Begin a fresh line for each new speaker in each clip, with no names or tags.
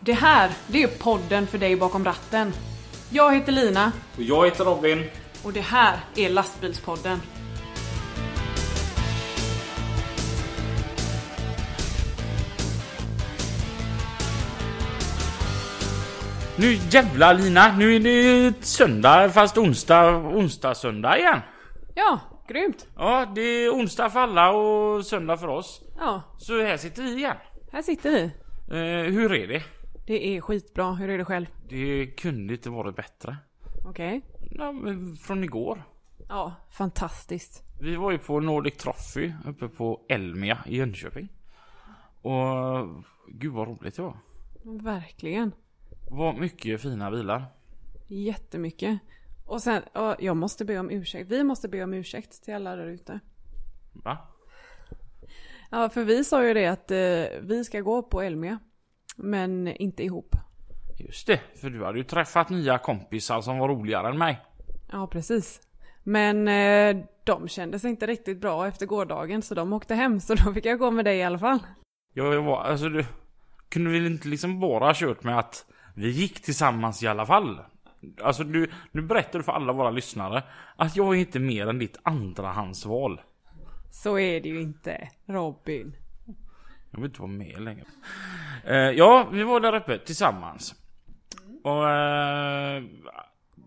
Det här, det är podden för dig bakom ratten. Jag heter Lina
Och jag heter Robin.
och det här är Lastbilspodden.
Nu jävlar Lina, nu är det söndag fast onsdag, onsdag söndag igen.
Ja, grymt.
Ja, det är onsdag för alla och söndag för oss.
Ja,
Så här sitter vi igen.
här sitter vi.
Eh, hur är det?
Det är skitbra. Hur är det själv?
Det kunde inte varit bättre.
Okej.
Ja, men från igår.
Ja, fantastiskt.
Vi var ju på Nordic Trophy uppe på Elmia i Jönköping. Och gud vad roligt det var.
Verkligen.
Vad mycket fina bilar.
Jättemycket. Och sen, ja, jag måste be om ursäkt. Vi måste be om ursäkt till alla där ute.
Va?
Ja, för vi sa ju det att eh, vi ska gå på Elmia. Men inte ihop.
Just det, för du hade ju träffat nya kompisar som var roligare än mig.
Ja, precis. Men eh, de kände sig inte riktigt bra efter gårdagen så de åkte hem så då fick jag gå med dig i alla fall.
Jag var, alltså du kunde väl inte liksom bara ha kört med att vi gick tillsammans i alla fall. Alltså du, nu berättar du för alla våra lyssnare att jag är inte mer än ditt andrahandsval.
Så är det ju inte, Robin.
Jag vill inte vara med längre. Eh, ja, vi var där uppe tillsammans. Och eh,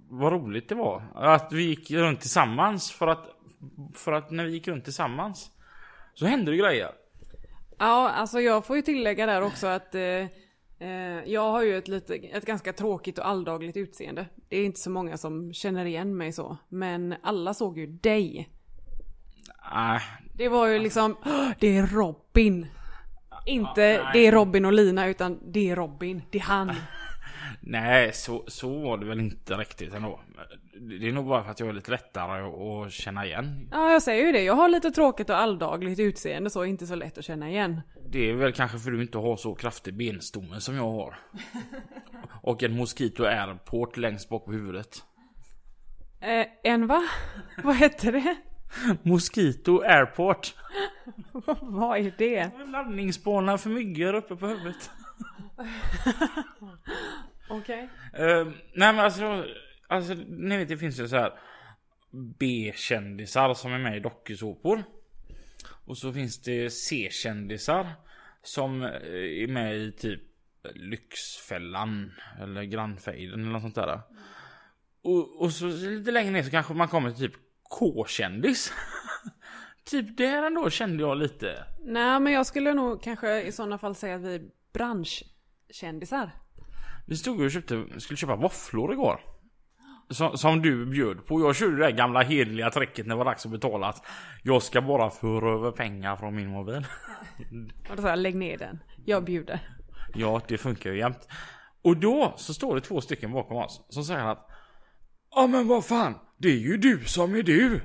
vad roligt det var att vi gick runt tillsammans för att för att när vi gick runt tillsammans så hände det grejer.
Ja, alltså jag får ju tillägga där också att eh, eh, jag har ju ett, lite, ett ganska tråkigt och alldagligt utseende. Det är inte så många som känner igen mig så, men alla såg ju dig.
Nej,
Det var ju liksom, "Åh, det är Robin. Inte
nej.
det är Robin och Lina utan det är Robin, det är han.
Nej, så, så var det väl inte riktigt ändå. Det är nog bara för att jag är lite lättare att- att känna igen.
Ja, jag säger ju det. Jag har lite tråkigt och alldagligt utseende så inte så lätt att känna igen.
Det är väl kanske för att du inte har så kraftig benstomme som jag har. Och en Mosquito Airport längst bak på huvudet.
Eh, en va? Vad hette det?
Mosquito Airport!
Vad är det?
Landningsbana för myggor uppe på huvudet.
Okej.
Eh, nej men alltså, alltså, ni vet det finns ju så här B-kändisar som är med i dokusåpor. Och så finns det C-kändisar som eh, är med i typ Lyxfällan eller Grannfejden eller något sånt där. Och, och så lite längre ner så kanske man kommer till typ K-kändis. typ där ändå kände jag lite.
Nej, men jag skulle nog kanske i sådana fall säga att vi är branschkändisar.
Vi stod och köpte, skulle köpa våfflor igår. Som, som du bjöd på. Jag körde det där gamla hederliga tricket när det var dags att betala. Att jag ska bara föra över pengar från min mobil.
Och då sa jag, lägg ner den. Jag bjuder.
Ja, det funkar ju jämt. Och då så står det två stycken bakom oss som säger att Ja men vad fan, det är ju du som är du.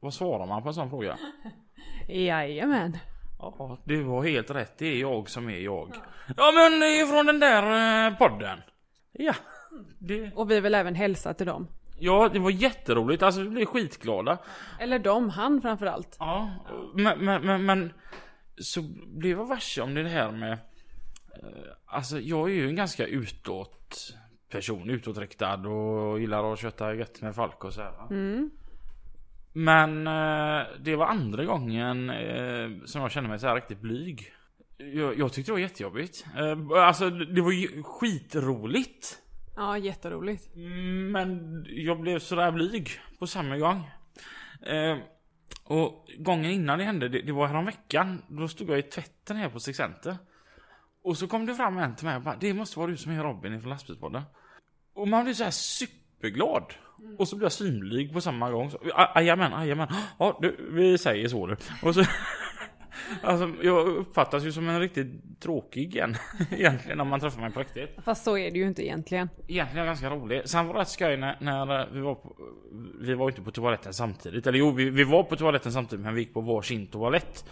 Vad svarar man på en sån fråga?
Jajamän.
Ja, du har helt rätt. Det är jag som är jag. Ja men det är från den där eh, podden. Ja, det...
Och vi vill även hälsa till dem.
Ja, det var jätteroligt. Alltså vi blev skitglada.
Eller dem, han framförallt.
Ja, men, men, men, men så blev jag varse om det här med... eh, Alltså jag är ju en ganska utåt person, utåtriktad och gillar att köta gött med folk och så här. va. Men eh, det var andra gången eh, som jag kände mig så här riktigt blyg. Jag, jag tyckte det var jättejobbigt. Eh, Alltså det var ju skitroligt.
Ja, jätteroligt.
Men jag blev sådär blyg på samma gång. Eh, och gången innan det hände, det, det var häromveckan. Då stod jag i tvätten här på Six Center. Och så kom det fram en till mig och bara, det måste vara du som är Robin från lastbilspodden. Och man blev så här superglad. Och så blev jag svinblyg på samma gång. Så, "Ja, Jajamän, jajamän. Ja, du, vi säger så du. Och så, alltså, jag uppfattas ju som en riktigt tråkig en. Egentligen när man träffar mig på riktigt.
Fast så är det ju inte egentligen.
Egentligen ganska rolig. Sen var det rätt skoj när, när eh, vi var på, Vi var inte på toaletten samtidigt. Eller jo, vi, vi var på toaletten samtidigt men vi gick på varsin toalett.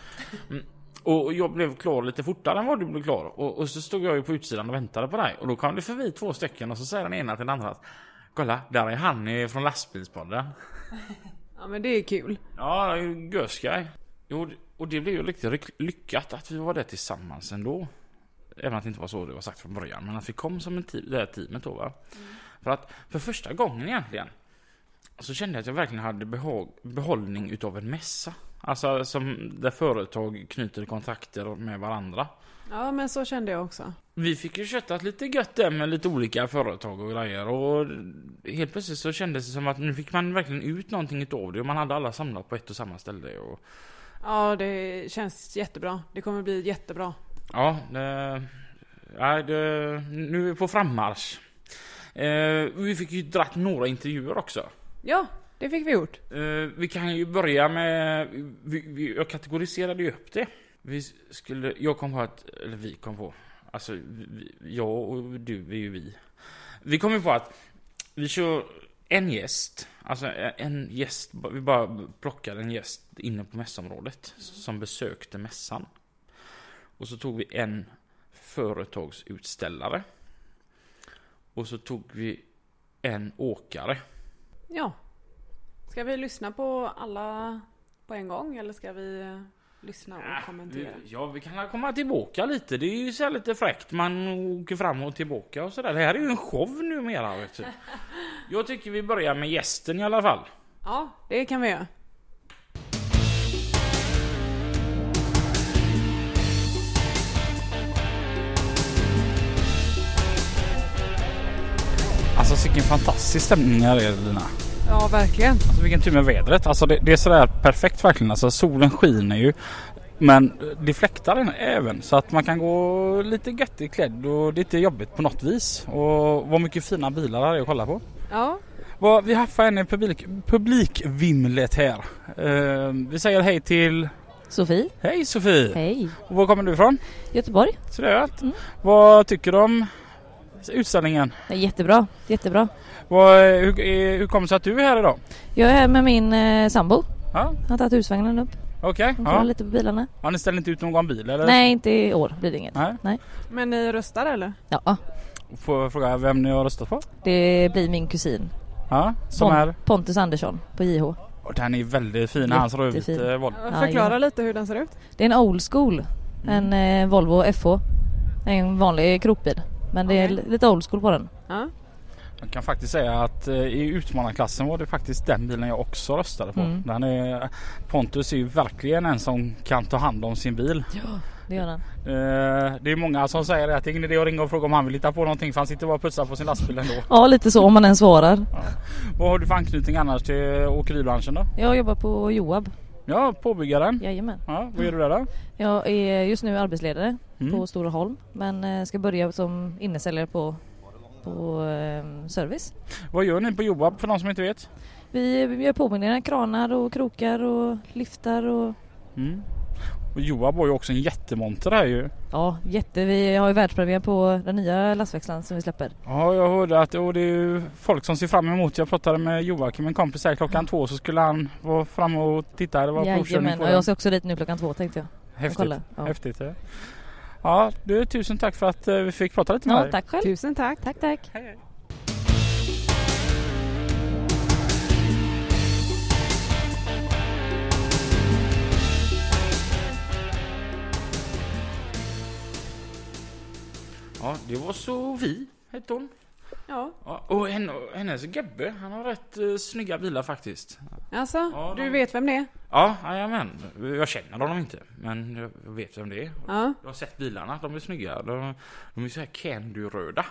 Mm. Och jag blev klar lite fortare än vad du blev klar. Och, och så stod jag ju på utsidan och väntade på dig. Och då kom det förbi två stycken och så säger den ena till den andra att Kolla, där är han eh, från lastbilspodden.
Ja, men det är kul.
Ja, det är ju görskoj. Jo, och det blev ju riktigt lyck- lyckat att vi var där tillsammans ändå. Eh, även att det inte var så det var sagt från början, men att vi kom som en team, det här teamet då va. För att för första gången egentligen så kände jag att jag verkligen hade behåg, behållning utav en mässa. Alltså som där företag knyter kontakter med varandra.
Ja, men så kände jag också.
Vi fick ju köttat lite gött där med lite olika företag och grejer och helt plötsligt så kändes det som att nu fick man verkligen ut någonting utav det och man hade alla samlat på ett och samma ställe och
Ja, det känns jättebra. Det kommer bli jättebra.
ja, det, ja det, nu är vi på frammarsch. Eh, vi fick ju dratt några intervjuer också.
Ja, det fick vi gjort.
Eh, vi kan ju börja med... Vi, vi, jag kategoriserade ju upp det. Vi skulle... Jag kom på att... Eller vi kom på. Alltså, vi, jag och du är ju vi. Vi kom ju på att vi kör en gäst. Alltså en gäst. Vi bara plockade en gäst inne på mässområdet. Som besökte mässan. Och så tog vi en företagsutställare. Och så tog vi en åkare.
Ja. Ska vi lyssna på alla på en gång eller ska vi eh, lyssna och kommentera?
Äh, Vi, ja, vi kan komma tillbaka lite. Det är ju så här lite fräckt. Man åker fram och tillbaka och sådär. Det här är ju en show numera. Vet du. Jag tycker vi börjar med gästen i alla fall.
Ja, det kan vi göra.
Alltså vilken fantastisk stämning här är Lina.
Ja, verkligen.
Alltså, vilken tur med vädret. Alltså det, det är sådär perfekt verkligen. Alltså solen skiner ju. Men det fläktar den även så att man kan gå lite göttigt klädd och det är inte jobbigt på något vis. Och vad mycket fina bilar här är att kolla på.
Ja,
Vad- Vi haffar en i publik, publikvimlet här. Eh, vi säger hej till...
Sofie,
Hej Sofie!
hej. Mm.
Och Var kommer du ifrån?
Göteborg,
Så det är allt. Vad tycker du om utställningen?
det är jättebra, jättebra.
Vad, hur, eh, hur kommer det sig att du är här idag?
Jag är här med min eh, sambo.
Ja.
Han har tagit husvagnen upp.
Okej.
Han kollar
Ja.
lite på bilarna.
Ja, ni ställer inte ut någon bil eller?
Mm, Nej, inte i år blir det inget.
Nej.
men ni röstar eller?
Ja, ah.
Får jag fråga vem ni har röstat på?
det blir min kusin.
Ja, som
Pon-
är?
Pontus Andersson på JH.
Och den är väldigt fin, hans
Jättefin.
rödvita Volvo.
Ja,
Förklara
ja.
lite hur den ser ut.
Det är en old school. En eh, Volvo FH. En vanlig krokbil. Men det är
Okej.
li- lite old school på den.
Ja.
Man kan faktiskt säga att eh, i utmanarklassen var det faktiskt den bilen jag också röstade på.
Mm.
Den är, Pontus är ju verkligen en som kan ta hand om sin bil.
Det gör den.
Eh, Det är många som säger att det är ingen idé att ringa och fråga om han vill hitta på någonting för han sitter bara och putsar på sin lastbil ändå.
Ja, lite så om man ens svarar.
Vad har du för anknytning annars till åkeribranschen då?
Jag jobbar på Joab.
Ja, påbyggaren.
Jajamän.
Ja, vad gör du där då?
Jag är just nu arbetsledare
Mm.
på Storaholm men eh, ska börja som innesäljare på, på eh, service.
Vad gör ni på Joab för de som inte vet?
Vi gör påminnelser, kranar och krokar och lyftar och
Mm. Och Joab har ju också en jättemonter här ju.
ja, jätte. Vi har ju världspremiär på den nya lastväxlaren som vi släpper.
Ja, jag hörde att och det är ju folk som ser fram emot. Jag pratade med Joakim, en kompis här klockan två så skulle han vara framme och titta. Det var provkörning
Jajamän,
på
och
den.
jag ska också dit nu klockan två tänkte jag.
Häftigt.
kolla, ja.
Häftigt. Ja. ja, du tusen tack för att eh, vi fick prata lite med
Ja,
dig.
tack själv.
Tusen tack.
Tack, tack.
Ja, det var Sofie, hette hon.
Ja,
Ja, och henne, hennes gubbe, han har rätt eh, snygga bilar faktiskt.
alltså
Ja, de-
du vet vem det är?
Ja, jajamän. Jag känner honom inte, men jag jag vet vem det är.
Ja,
Jag har sett bilarna, de är snygga. De, de är så här candy-röda.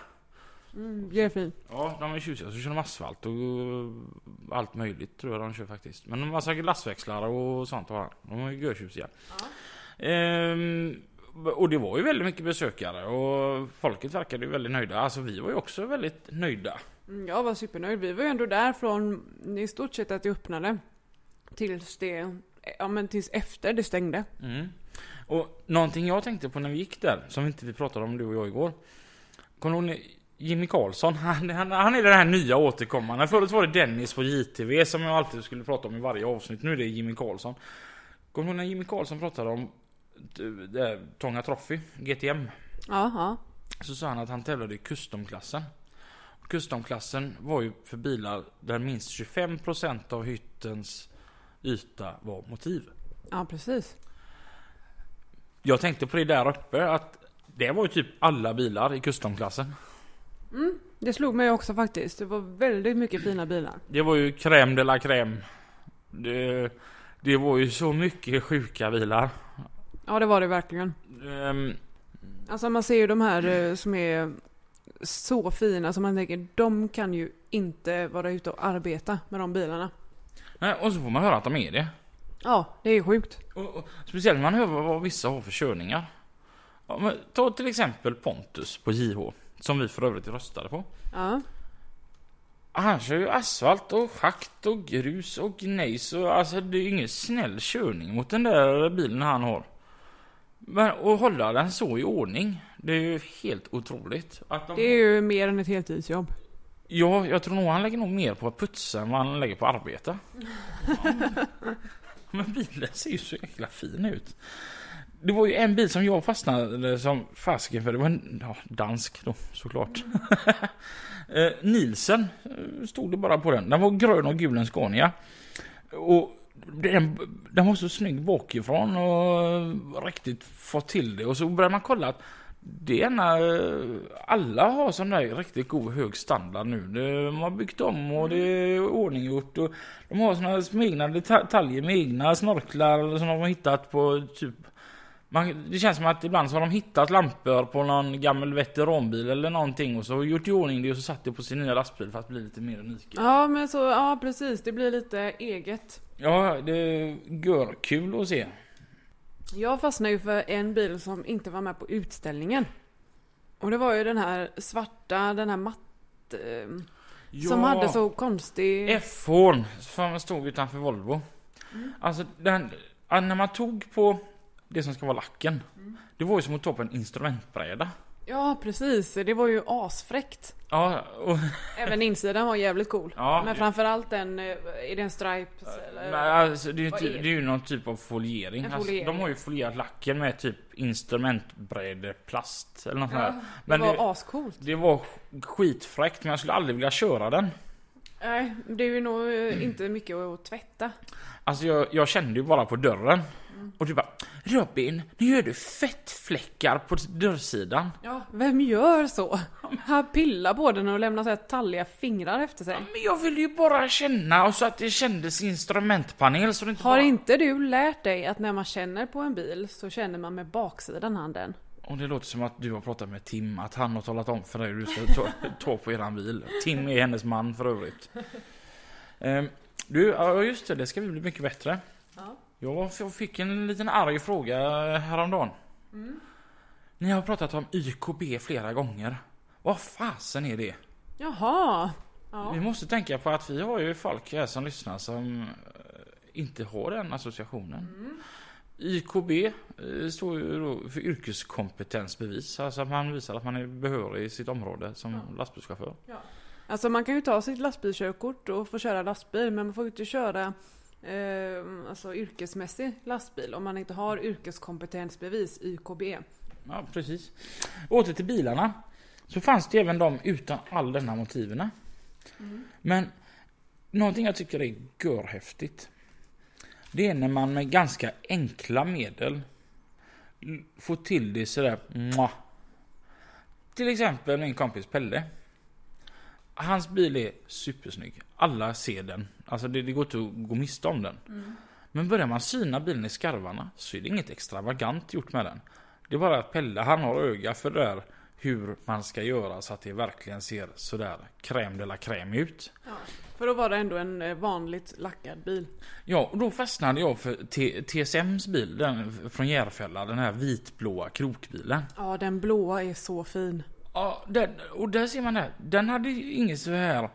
mm, det är fint.
Ja, de är tjusiga. Så kör de asfalt och eh, allt möjligt tror jag de kör faktiskt. Men de har säkert lastväxlar och sånt har han. De är görtjusiga. Ehm, och det var ju väldigt mycket besökare och folket verkade ju väldigt nöjda. Alltså vi var ju också väldigt nöjda.
Mm, Jag var supernöjd. Vi var ju ändå där från i stort sett att det öppnade tills det, ja men tills efter det stängde.
Mm. Och någonting jag tänkte på när vi gick där, som inte vi pratade om du och jag igår. Kommer du ihåg Jimmy Karlsson? Han, han, han är den här nya återkommande. Förut var det Dennis på JTV som jag alltid skulle prata om i varje avsnitt. Nu är det Jimmy Karlsson. Kommer du ihåg när Jimmy Karlsson pratade om äh, Tånga Trophy, GTM?
Ja, ja.
Så sa han att han tävlade i customklassen. Customklassen var ju för bilar där minst 25% av hyttens yta var motiv.
Ja, precis.
Jag tänkte på det där uppe att Det var ju typ alla bilar i custom-klassen.
Det slog mig också faktiskt. Det var väldigt mycket fina bilar.
Det var ju crème de la crème. Det, det var ju så mycket sjuka bilar.
Ja, det var det verkligen.
Ehm,
Alltså man ser ju de här eh, som är så fina som man tänker, de kan ju inte vara ute och arbeta med de bilarna.
nej, och så får man höra att de är det.
Ja, det är sjukt.
Och, och, speciellt när man hör vad, vad vissa har för körningar. Ja, men, ta till exempel Pontus på JH. Som vi för övrigt röstade på.
Ja.
Han kör ju asfalt och schakt och grus och gnejs och alltså det är ju ingen snäll körning mot den där bilen han har. Men att hålla den så i ordning, det är ju helt otroligt. Att de...
Det är ju mer än ett heltidsjobb.
Ja, jag tror nog han lägger nog mer på att putsa än vad han lägger på att arbeta. Men bilen ser ju så jäkla fin ut. Det var ju en bil som jag fastnade som fasken för. Det var en ja, dansk då såklart. Eh, Nielsen eh, stod det bara på den. Den var grön och gul en Scania. Och den, den var så snygg bakifrån och riktigt fått till det. Och så började man kolla att det är när eh, alla har sån där riktigt god hög standard nu. Det- De har byggt om och det är ordninggjort och de har såna små egna detaljer med egna snorklar som de har hittat på typ man, det känns som att ibland så har de hittat lampor på någon gammal veteranbil eller någonting och så har gjort i ordning det och så satt det på sin nya lastbil för att bli lite mer unik.
Ja, men så, ja precis. Det blir lite eget.
Ja, det är görkul att se.
Jag fastnade ju för en bil som inte var med på utställningen. Och det var ju den här svarta, den här matt... Eh, Som hade så konstig...
F-horn som stod utanför Volvo.
Mm.
Alltså den, ja, när man tog på det som ska vara lacken.
Mm.
Det var ju som att ta på en instrumentbräda.
Ja, precis. Det var ju asfräckt.
Ja, och,
Även insidan var jävligt cool.
Ja.
Men framförallt den, eh, är det en stripes eller?
men alltså, det, är ju
Vad
ty,
är det?
det är ju någon typ av foliering.
En
Alltså,
foliering.
de har ju folierat lacken med typ instrumentbrädeplast eller något sånt där.
det
Men
var
det,
ascoolt.
det var skitfräckt men jag skulle aldrig vilja köra den.
Nej, det är ju nog eh, inte mycket att tvätta.
Alltså jag, jag kände ju bara på dörren. Och du bara Robin, nu gör du fettfläckar på dörrsidan.
Ja, vem gör så? Han pillar på den och lämnar så här talliga fingrar efter sig.
Men jag ville ju bara känna och så att det kändes instrumentpanel så det inte
Har
bara...
inte du lärt dig att när man känner på en bil så känner man med baksidan handen?
Och det låter som att du har pratat med Tim, att han har talat om för dig hur du ska ta, ta på eran bil. Tim är hennes man för övrigt. Ehm, du, ja just det, det ska vi bli mycket bättre.
Ja.
Jag f- jag fick en liten arg fråga häromdagen. Ni har pratat om YKB flera gånger. Vad fasen är det?
Jaha! Ja.
Vi måste tänka på att vi har ju folk här som lyssnar som eh, inte har den associationen. YKB eh, står ju då för yrkeskompetensbevis, alltså att man visar att man är behörig i sitt område som lastbilschaufför.
Alltså man kan ju ta sitt lastbilskörkort och få köra lastbil men man får ju inte köra eh, alltså yrkesmässig lastbil om man inte har yrkeskompetensbevis, YKB.
Ja, precis. Åter till bilarna. Så fanns det även de utan all denna motiverna. Men någonting jag tycker är görhäftigt. Det är när man med ganska enkla medel l- får till det sådär mwah. Till exempel min kompis Pelle. Hans bil är supersnygg. Alla ser den. Alltså det, det går inte att gå miste om den. Men börjar man syna bilen i skarvarna så är det inget extravagant gjort med den. Det är bara att Pelle han har öga för det där hur man ska göra så att det verkligen ser sådär crème de la crème ut.
För då var det ändå en eh, vanligt lackad bil.
Ja, och då fastnade jag för T- TSMs bil, den från Järfälla, den här vitblåa krokbilen.
Ja, den blåa är så fin.
Ja, den, och där ser man det. här. Den hade ju inget så här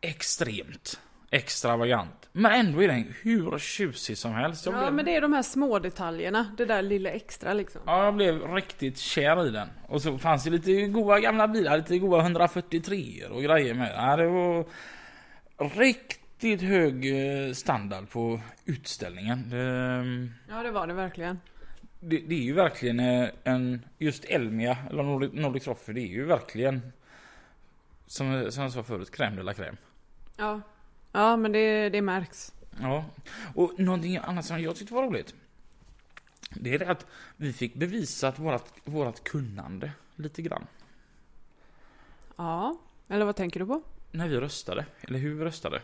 extremt extravagant. Men ändå är den hur tjusig som helst. Jag
Ja,
blev-
men det är de här små detaljerna, det där lilla extra liksom.
Ja, jag blev riktigt kär i den. Och så fanns det lite goa gamla bilar, lite goa 143 och grejer med. Ja, det var riktigt hög eh, standard på utställningen. Det, ehm,
Ja, det var det verkligen.
det, det är ju verkligen eh, en, just Elmia, eller Nordic, Nordic Trophy, det är ju verkligen som, som jag sa förut, crème de la crème.
Ja, ja men det, det märks.
Ja, och någonting annat som jag tyckte var roligt. Det är det att vi fick bevisat vårat, vårat kunnande lite grann.
Ja, eller vad tänker du på?
När vi röstade, eller hur vi röstade.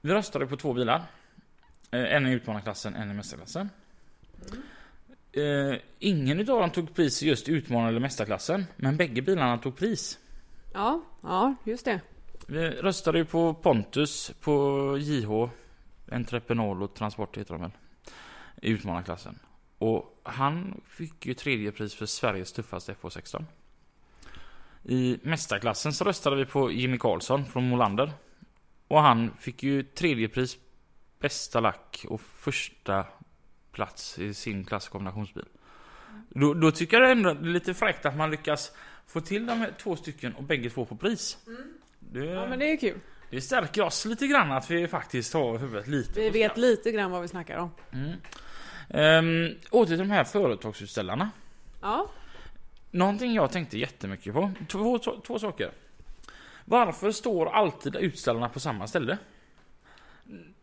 Vi röstade på två bilar. Eh, En i utmanarklassen, en i mästarklassen. Eh, ingen utav dem tog pris i just utmanar eller mästarklassen. Men bägge bilarna tog pris.
Ja, ja, just det.
Vi röstade ju på Pontus, på JH, Entreprenol och Transport heter de väl. I utmanarklassen. Och han fick ju tredje pris för Sveriges tuffaste FH16. I mästarklassen så röstade vi på Jimmy Karlsson från Molander. Och han fick ju tredje pris bästa lack och första plats i sin klass kombinationsbil. Då, då tycker jag ändå det är lite fräckt att man lyckas få till de här två stycken och bägge två på pris. Det,
Mm. Ja, men det är kul.
det stärker oss lite grann att vi faktiskt har huvudet lite
Vi
på
vet lite grann vad vi snackar om.
Um, Mm. åter till de här företagsutställarna.
Ja,
Någonting jag tänkte jättemycket på. Två, två, två saker. Varför står alltid utställarna på samma ställe?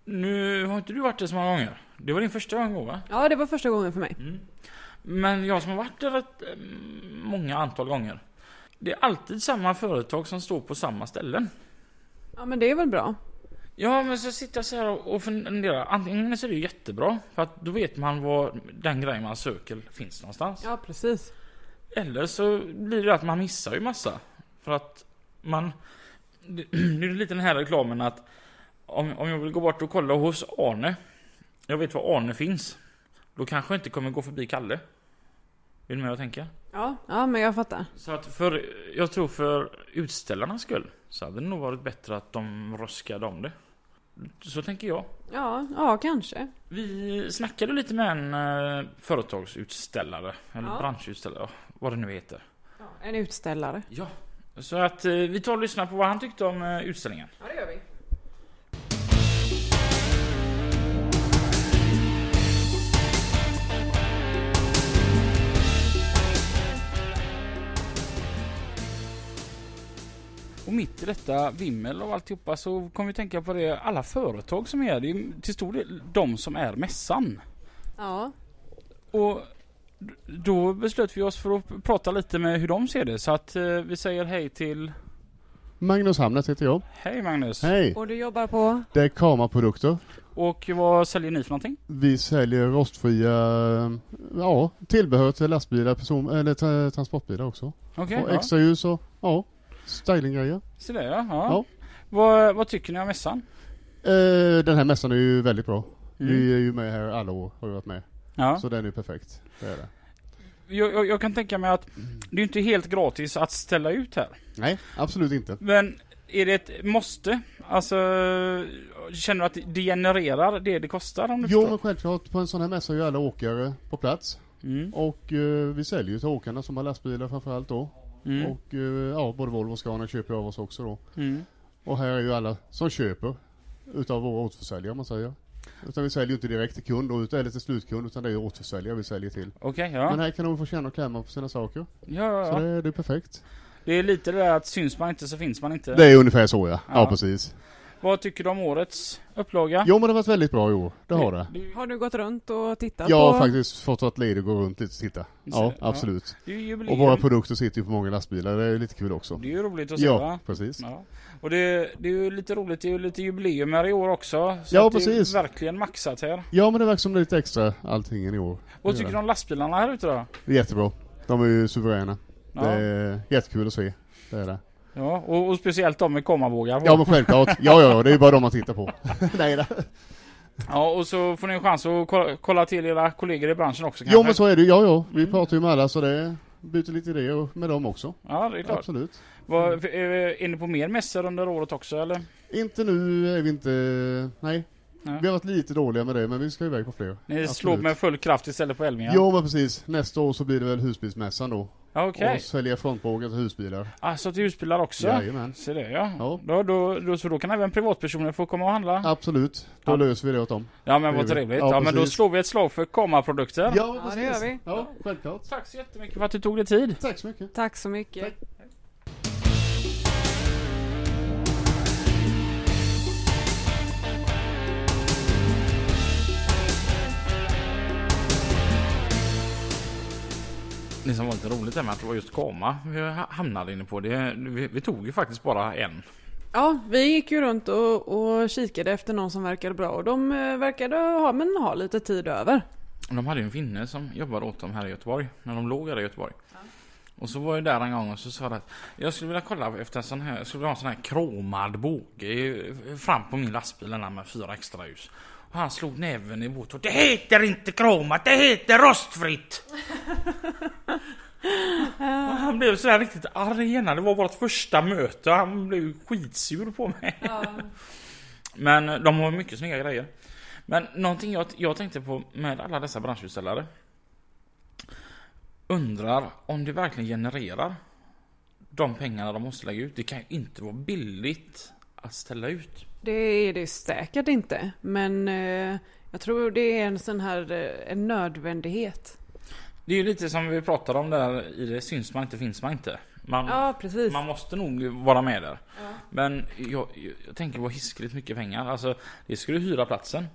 Nu har inte du varit där så många gånger. Det var din första gång va?
ja det var första gången för mig.
Men jag som har varit där rätt eh, många antal gånger. Det är alltid samma företag som står på samma ställen.
Ja, men det är väl bra.
Ja, men så sitter jag så här och funderar. Antingen så är det ju jättebra, för att då vet man var den grejen man söker finns någonstans.
Ja, precis.
Eller så blir det att man missar ju massa. För att man... Det det är ju lite den här reklamen att om, om jag vill gå bort och kolla hos Arne. Jag vet var Arne finns. Då kanske jag inte kommer gå förbi Kalle. Är du med vad jag tänker?
Ja, ja men jag fattar.
Så att för, jag tror för utställarnas skull så hade det nog varit bättre att de röskade om det. Så tänker jag.
Ja, ja kanske.
Vi snackade lite med en eh, företagsutställare, eller
Ja.
branschutställare, vad det nu heter.
En utställare.
Ja. Så att eh, vi tar och lyssnar på vad han tyckte om eh, utställningen.
Ja, det gör vi.
Och mitt i detta vimmel och alltihopa så kommer vi tänka på det, alla företag som är här, det är ju till stor del de som är mässan.
Ja,
Och d- då beslöt vi oss för att prata lite med hur de ser det. Så att eh, vi säger hej till...
Magnus Hamnet heter jag.
Hej Magnus!
Hej!
och du jobbar på?
Det är Kama-produkter.
Och vad säljer ni för någonting?
Vi säljer rostfria ja, tillbehör till lastbilar person, eller tra- transportbilar också.
Okej,
och
ja.
extra ljus och ja, stylinggrejer.
Så där ja. ja.
Ja.
Vad, vad tycker ni om mässan?
Eh, den här mässan är ju väldigt bra.
Mm.
Vi är ju med här alla år, har vi varit med.
Ja.
Så den är ju perfekt. Det är det.
Jag, jag, jag kan tänka mig att det är inte helt gratis att ställa ut här.
Nej, absolut inte.
Men är det ett måste? Alltså, känner du att det genererar det det kostar? Om du
Jo men
förstår?
självklart, på en sån här mässa är ju alla åkare på plats.
Mm.
Och eh, vi säljer ju till åkarna som har lastbilar framförallt då.
Mm.
Och eh, ja, både Volvo och Scania köper ju av oss också då.
Mm.
Och här är ju alla som köper utav våra återförsäljare om man säger. Utan vi säljer ju inte direkt till kund och ut- eller till slutkund utan det är ju återförsäljare vi säljer till.
Okej,
Men
ja.
här kan de få känna och klämma på sina saker.
ja,
Så
ja, ja.
det, det är perfekt.
Det är lite det där att syns man inte så finns man inte.
Det är ungefär så ja.
Ja.
Ja, precis.
Vad tycker du om årets upplaga?
Jo men det har varit väldigt bra i år. Det har det.
Har du gått runt och tittat på?
Jag har faktiskt fått vara ett led och gå runt lite och titta. Ja,
det, ja.
absolut.
Det är ju jubileum.
Och våra produkter sitter ju på många lastbilar. Det är ju lite kul också.
Det är ju roligt att se
Ja,
va?
precis.
Ja. Och det, det är ju lite roligt, det är ju lite jubileum här i år också. Så
Ja,
att
precis.
det är verkligen maxat här.
Ja men det verkar som det är lite extra allting i år.
Vad
Det
tycker
är
du
det.
om lastbilarna här ute då?
Det är jättebra. De är ju suveräna.
Ja,
Det är jättekul att se. Det är det.
ja. Och, och speciellt de med kommabågar.
Ja men självklart. Ja, ja, ja. Det är ju bara de man tittar på. Nej, det.
Ja, och så får ni en chans att kolla, kolla till era kollegor i branschen också kanske?
Jo men så är det ju. Ja, ja. Vi pratar ju med alla så det byter lite idéer och- med dem också.
Ja, det är klart.
Absolut.
Vad, är, är ni på mer mässor under året också eller?
Inte nu är vi inte... Nej.
Nej.
Vi har varit lite dåliga med det men vi ska iväg på fler.
Ni
Absolut.
slog med full kraft istället på Elmia?
Jo men precis. Nästa år så blir det väl husbilsmässan då.
Ja, Okej.
Och sälja frontbågar till husbilar.
Alltså till husbilar också?
Jajamän.
Så det ja.
Ja.
Då, då, då, så då kan även privatpersoner få komma och handla? Ja,
Absolut. Då
Ja.
löser vi det åt dem.
men
det
vad
gör vi.
trevligt. Ja,
Ja,
men då
precis.
slår vi ett slag för komma-produkter.
Ja,
Ja, det gör vi.
Ja, självklart.
Tack så jättemycket för att du tog dig tid.
Tack så mycket.
Tack så mycket.
Tack.
Det som var lite roligt där med att det var just Kama vi ha- hamnade inne på. Det, vi, vi tog ju faktiskt bara en.
Ja, vi gick ju runt och, och kikade efter någon som verkade bra och de eh, verkade ha, men ha lite tid över.
De hade ju en finne som jobbade åt dem här i Göteborg. När de låg här i Göteborg. Och så var jag där en gång och så sa det att jag skulle vilja kolla efter en sån här, jag skulle vilja ha en sån här kromad båge i- fram på min lastbil den här med fyra extra ljus. Och han slog näven i bordet och det heter inte kromat, det heter rostfritt! Och han blev så här riktigt arg igen. det var vårt första möte och han blev ju skitsur på mig. Men de har mycket snygga grejer. Men någonting jag, jag tänkte på med alla dessa branschutställare. Undrar om det verkligen genererar de pengarna de måste lägga ut. Det kan ju inte vara billigt att ställa ut.
Det är det säkert inte, men eh, jag tror det är en sån här eh, en nödvändighet.
Det är ju lite som vi pratade om där i det syns man inte finns man inte. Man,
Ja, precis.
man måste nog vara med där. Men jag, jag tänker på hiskeligt mycket pengar. Alltså det skulle hyra platsen.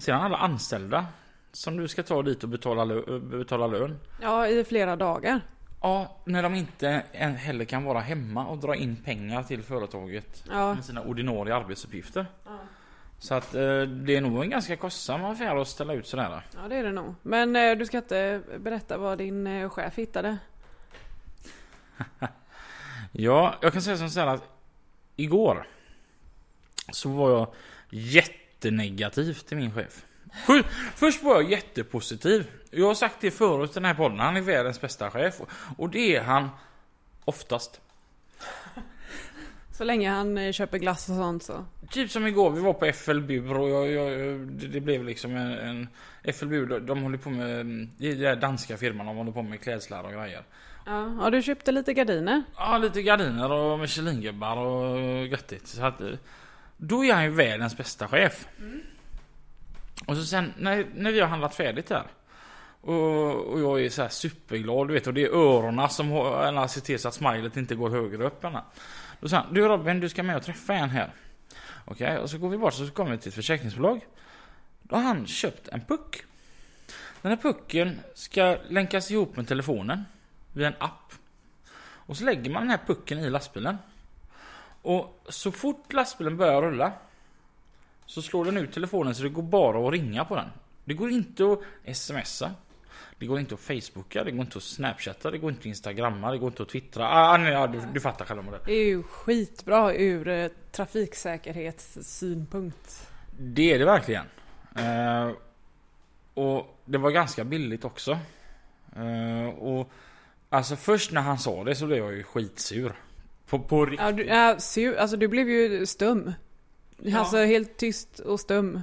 Sedan alla anställda som du ska ta dit och betala, lö- betala lön.
Ja, i flera dagar.
Ja, när de inte en- heller kan vara hemma och dra in pengar till företaget
Ja,
med sina ordinarie arbetsuppgifter. Så att eh, det är nog en ganska kostsam affär att ställa ut sådär.
ja det är det nog. Men eh, du ska inte berätta vad din eh, chef hittade?
Ja, jag kan säga som så här att igår så var jag jättenegativ till min chef. För- Först var jag jättepositiv. Jag har sagt det förut i den här podden, han är världens bästa chef. Och det är han oftast.
Så länge han eh, köper glass och sånt så.
Typ som igår, vi var på FLBUR och jag, jag, jag- det, det blev liksom en... en FLBUR, de, de håller på med... mm, Det är den där danska firman, de håller på med klädslar och grejer.
Ja, ja du köpte lite gardiner.
Ja, lite gardiner och Michelingubbar och göttigt. Så att, eh, då är han ju världens bästa chef. Och så sen när, när vi har handlat färdigt där. Och, och jag är så här superglad du vet och det är öronen som har eller ser till så att smilet inte går högre upp än här. Då sa han, du Robin du ska med och träffa en här. Okej, och så går vi bort så kommer vi till ett försäkringsbolag. Då har han köpt en puck. Den här pucken ska länkas ihop med telefonen via en app. Och så lägger man den här pucken i lastbilen. Och så fort lastbilen börjar rulla så slår den ut telefonen så det går bara att ringa på den. Det går inte att smsa. Det går inte att facebooka, det går inte att snapchatta, det går inte att instagramma, det går inte att twittra. Ah, nej, ja, du, du fattar själva vad det är.
Det är ju skitbra ur eh, trafiksäkerhetssynpunkt.
Det är det verkligen. Eh, och det var ganska billigt också. Eh, och Alltså först när han sa det så blev jag ju skitsur. På, på ri-
Ja, du, ja, sur, alltså du blev ju stum.
Ja.
Alltså helt tyst och stum.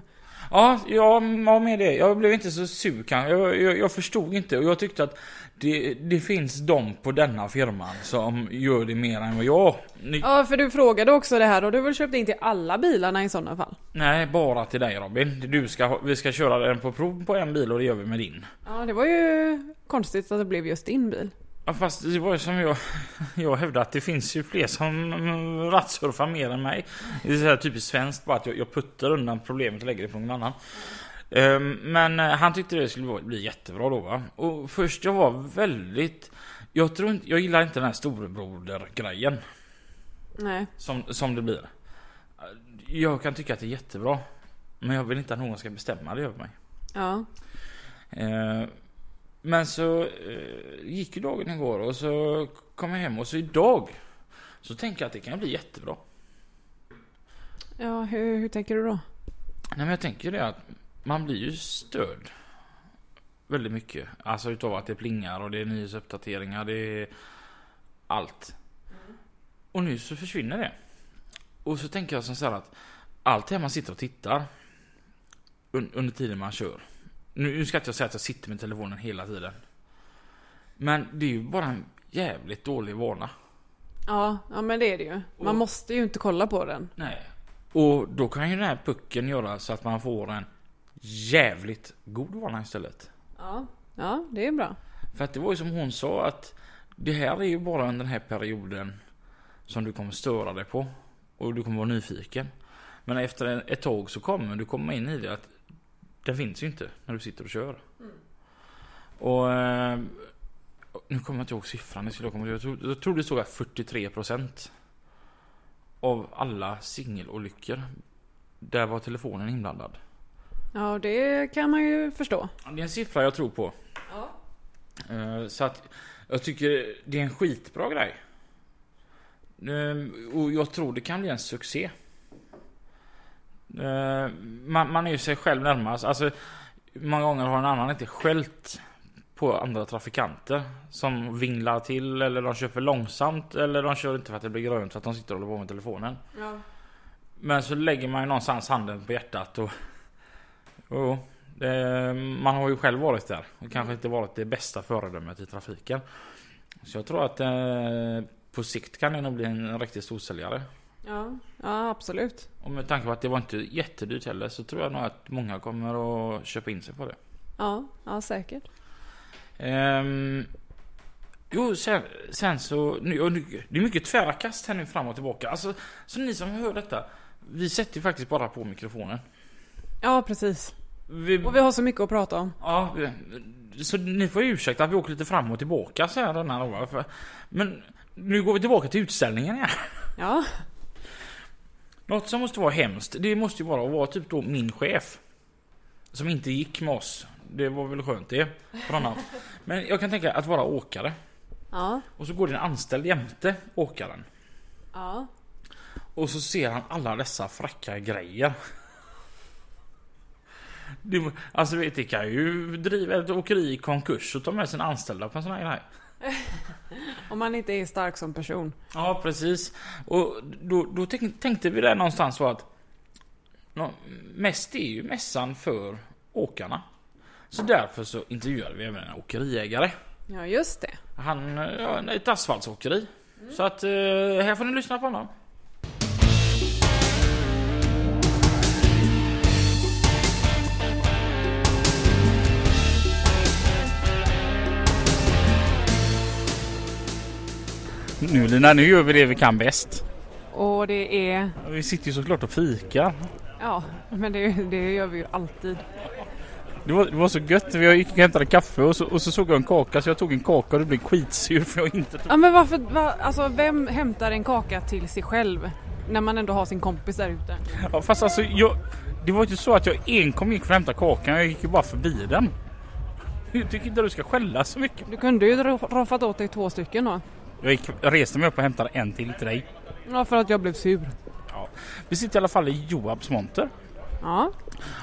Ja, ja, ja, med det. Jag blev inte så sur kanske. Jag, jag, jag förstod inte och jag tyckte att det, det finns de på denna firman som gör det mer än vad jag. Ni,
Ja, för du frågade också det här och du har väl köpt in till alla bilarna i sådana fall?
Nej, bara till dig Robin. Du ska, ha- vi ska köra den på prov på en bil och det gör vi med din.
Ja, det var ju konstigt att det blev just din bil.
Ja, fast det var ju som jag, jag hävdade att det finns ju fler som mm, rattsurfar mer än mig. Det är så här typiskt svenskt bara att jag, jag puttar undan problemet och lägger det på någon annan. Ehm, Men eh, han tyckte det skulle vara- bli jättebra då va. Och först jag var väldigt... Jag tror inte, jag gillar inte den här storebroder-grejen
Nej.
som, som det blir. Jag kan tycka att det är jättebra. Men jag vill inte att någon ska bestämma det över mig.
Ja.
Eh, Men så eh, gick ju dagen igår och så kom jag hem och så idag så tänker jag att det kan bli jättebra.
Ja, hur, hur tänker du då?
Nej men jag tänker det att man blir ju störd väldigt mycket. Alltså utav att det plingar och det är nyhetsuppdateringar, det är allt. Och nu så försvinner det. Och så tänker jag som så här att allt det här man sitter och tittar un- under tiden man kör. Nu nu ska inte jag säga att jag sitter med telefonen hela tiden. Men det är ju bara en jävligt dålig vana.
Ja, ja men det är det ju. Man
Och-
måste ju inte kolla på den.
Nej. Och då kan ju den här pucken göra så att man får en jävligt god vana istället.
Ja. Ja, det är bra.
För att det var ju som hon sa att det här är ju bara under den här perioden som du kommer störa dig på. Och du kommer vara nyfiken. Men efter en- ett tag så kommer du komma in i det att den finns ju inte när du sitter och kör. Och eh, nu kommer jag inte ihåg siffran, jag, skulle komma ihåg. jag, tror, jag tror det stod att 43% av alla singelolyckor, där var telefonen inblandad.
Ja, det kan man ju förstå.
Ja, Det är en siffra jag tror på. Eh, Så att jag tycker det är en skitbra grej. Ehm, Och jag tror det kan bli en succé. Ehm, Man, man är ju sig själv närmast. Alltså, många gånger har en annan inte skällt på andra trafikanter som vinglar till eller de kör för långsamt eller de kör inte för att det blir grönt för att de sitter och håller på med telefonen.
Ja.
Men så lägger man ju någonstans handen på hjärtat och... Jo, det, man har ju själv varit där och kanske inte varit det bästa föredömet i trafiken. Så jag tror att eh, på sikt kan det nog bli en riktig storsäljare.
Ja, ja absolut.
Och med tanke på att det var inte jättedyrt heller så tror jag nog att många kommer att köpa in sig på det.
Ja, ja säkert.
Ehm, jo, sen, sen så... Nu, och nu, det är mycket tvära kast här nu fram och tillbaka. Alltså, så ni som hör detta. Vi sätter ju faktiskt bara på mikrofonen.
Ja, precis.
Vi,
Och vi har så mycket att prata om.
Ja, så ni får ursäkta att vi åker lite fram och tillbaka så här den här dagen, för- Men nu går vi tillbaka till utställningen igen.
Ja,
Något som måste vara hemskt, det måste ju vara att vara typ då min chef. Som inte gick med oss. Det var väl skönt det. För annat. Men jag kan tänka att vara åkare.
ja,
Och så går det en anställd jämte åkaren.
ja.
Och så ser han alla dessa fräcka grejer. Det, alltså vet, det kan ju driva ett åkeri i konkurs och ta med sina anställda på en sån här grej.
Om man inte är stark som person.
Ja, precis. Och då, då tänk, tänkte vi där någonstans så att nå, mest är ju mässan för åkarna. Så därför så intervjuade vi även en åkeriägare.
Ja, just det.
Han, eh, ja, ett asfaltsåkeri. Så att eh, här får ni lyssna på honom.
Nu Lina, nu gör vi det vi kan bäst.
Och det är...
Vi sitter ju såklart och fikar.
Ja, men det, det gör vi ju alltid.
Det var, det var så gött. Jag gick och hämtade kaffe och så, och så såg jag en kaka så jag tog en kaka och du blev skitsur för jag inte tog...
Ja, men varför... Va, alltså, vem hämtar en kaka till sig själv? När man ändå har sin kompis där ute.
Ja, fast alltså jag... Det var ju inte så att jag enkom gick för att hämta kakan. Jag gick ju bara förbi den. Jag tycker inte du ska skälla så mycket.
Du kunde ju dra- roffat åt dig två stycken då.
Jag gick, jag reste mig upp och hämtade en till till dig.
Ja, för att jag blev sur.
Vi sitter i alla fall i Joabs monter.
Ja,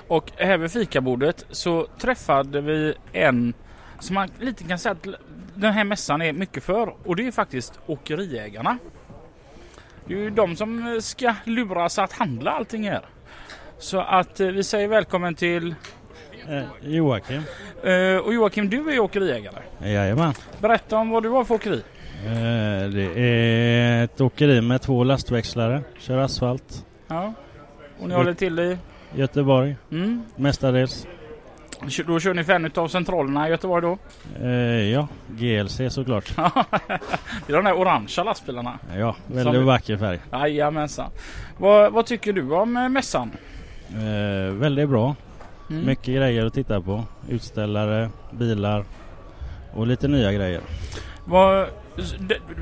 Och här vid fikabordet så träffade vi en som man lite kan säga att den här mässan är mycket för och det är faktiskt åkeriägarna. Det är ju de som ska luras att handla allting här. Så att eh, vi säger välkommen till
Eh, Joakim.
eh, och Joakim du är ju åkeriägare.
Jajamän.
Berätta om vad du har för åkeri.
Eh, det är ett åkeri med två lastväxlare. Kör asfalt.
Ja. Och ni håller till i?
Göteborg
Mm.
mestadels.
Kör- Då kör ni för en av centralerna i Göteborg då?
Eh, ja, GLC såklart.
Det är de där orangea lastbilarna.
Ja,
Som-
väldigt vacker färg.
Jajamensan. Vad, vad tycker du om eh, mässan?
Eh, väldigt bra.
Mm.
Mycket grejer att titta på. Utställare, bilar och lite nya grejer.
Vad,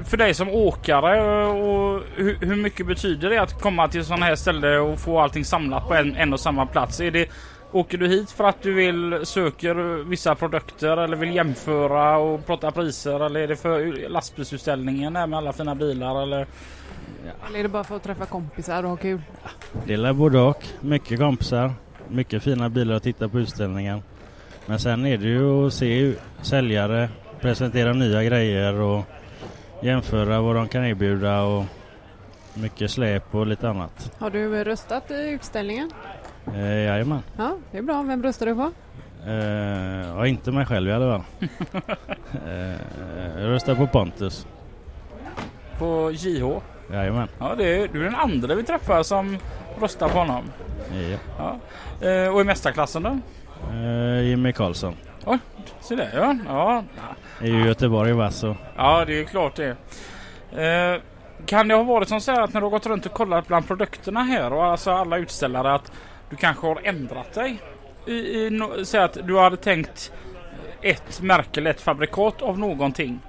för dig som åkare, eh, och hur, hur mycket betyder det att komma till sådana här ställe och få allting samlat på en, en och samma plats? Är det, åker du hit för att du vill söker vissa produkter eller vill jämföra och prata priser? Eller är det för lastbilsutställningen där med alla fina bilar? Eller?
eller är det bara för att träffa kompisar och ha kul?
Det är både och. Mycket kompisar. Mycket fina bilar att titta på utställningen. Men sen är det ju att se säljare presentera nya grejer och jämföra vad de kan erbjuda och mycket släp och lite annat.
Har du eh, röstat i utställningen?
Eh, jajamän.
Ja, det är bra. Vem röstar du på?
Eh, ja, inte mig själv i alla fall. eh, jag röstar på Pontus.
På JH?
Jajamän.
Ja, det är, du är den andra vi träffar som röstar på honom.
Ja.
Ja. Eh, och i mästarklassen då?
Eh, Jimmy Karlsson.
Så där ja. ja.
Är ju Göteborg va så.
Ja, det är klart det. Eh, kan det ha varit som så här att när du har gått runt och kollat bland produkterna här och alltså alla utställare att du kanske har ändrat dig? I, i, no- så att du hade tänkt ett märke eller ett fabrikat av någonting.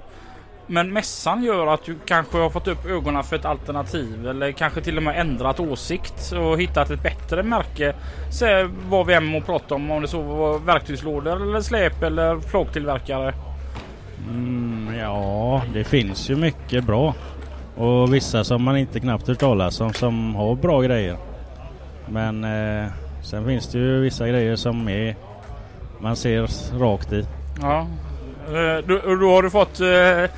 Men mässan gör att du kanske har fått upp ögonen för ett alternativ eller kanske till och med ändrat åsikt och hittat ett bättre märke. Se vad vi än må prata om, om det så var verktygslådor eller släp eller flågtillverkare.
Mm, ja, det finns ju mycket bra. Och vissa som man inte knappt hört talas om som har bra grejer. Men eh, sen finns det ju vissa grejer som är man ser s- rakt i.
Ja. Eh, Då, och då har du fått eh,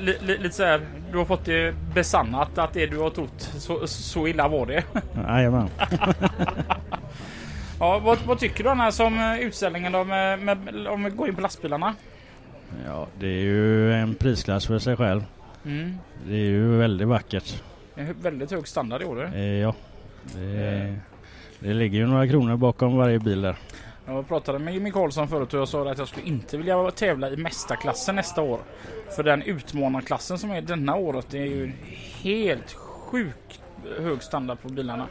li, li, lite så här, du har fått det besannat att det du har trott så, så illa var det.
Jajamän.
Ja, vad, vad tycker du annars om eh, utställningen då med, med, om vi går in på lastbilarna?
Ja, det är ju en prisklass för sig själv.
Mm.
Det är ju väldigt vackert.
Det är Väldigt hög standard i år. du.
Eh, ja. Det, det ligger ju några kronor bakom varje bil där.
Jag pratade med Jimmy Karlsson förut och jag sa att jag skulle inte vilja tävla i mästarklassen nästa år. För den utmanarklassen som är denna året det är ju helt sjukt hög standard på bilarna.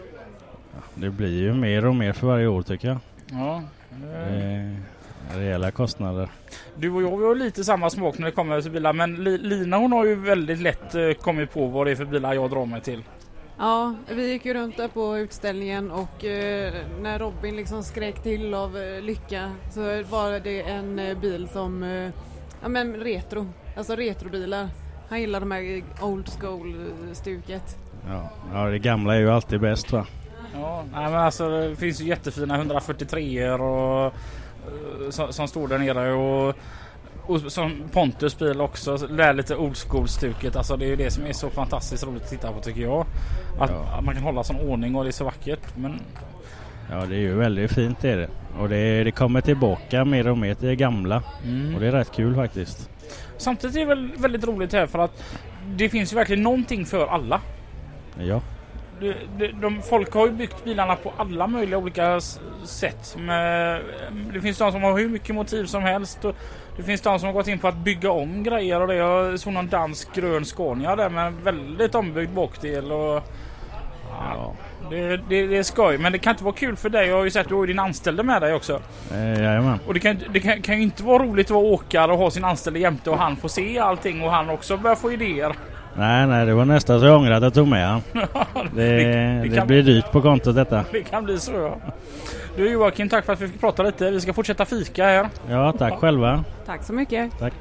Det blir ju mer och mer för varje år tycker jag.
Ja.
Eh, rejäla kostnader.
Du och jag vi har lite samma smak när det kommer till bilar men Li- Lina hon har ju väldigt lätt eh, kommit på vad det är för bilar jag drar mig till.
Ja, vi gick ju runt där på utställningen och eh, när Robin liksom skrek till av eh, lycka så var det en eh, bil som, eh, ja men retro, alltså retrobilar. Han gillar de här old school eh, stuket.
Ja. ja, det gamla är ju alltid bäst va?
Ja, nej, men alltså, det finns ju jättefina 143 er och eh, som, som står där nere och, och som Pontus bil också. så Det är lite old school stuket. Alltså det är ju det som är så fantastiskt roligt att titta på tycker jag. Att,
Ja.
att man kan hålla sån ordning och det är så vackert. Men
Ja, det är ju väldigt fint är det. Och det, det kommer tillbaka mer och mer till det gamla.
Mm.
Och det är rätt kul faktiskt.
mm. samtidigt är det väl väldigt roligt här för att det finns ju verkligen någonting för alla.
Ja,
Det- det- de, folk har ju byggt bilarna på alla möjliga olika s- sätt. Med, det finns de som har hur mycket motiv som helst. Och det finns de som har gått in på att bygga om grejer. Och det. Jag såg någon dansk grön Scania där med en väldigt ombyggd bakdel. Och,
ja.
det, det, det är skoj, men det kan inte vara kul för dig. Jag har ju sett att du har ju din anställde med dig också.
Eh, jajamän.
Och det kan, det kan, kan ju inte vara roligt att vara åkare och ha sin anställde jämte och han får se allting och han också börjar få idéer.
Nej, nej, det var nästan så jag ångrade att jag tog med han. Det,
det
det,
kan-
blir dyrt på kontot detta.
Det kan bli så ja. Du Joakim, tack för att vi fick prata lite. Vi ska fortsätta fika här.
Ja, tack själva.
Tack så mycket.
Tack.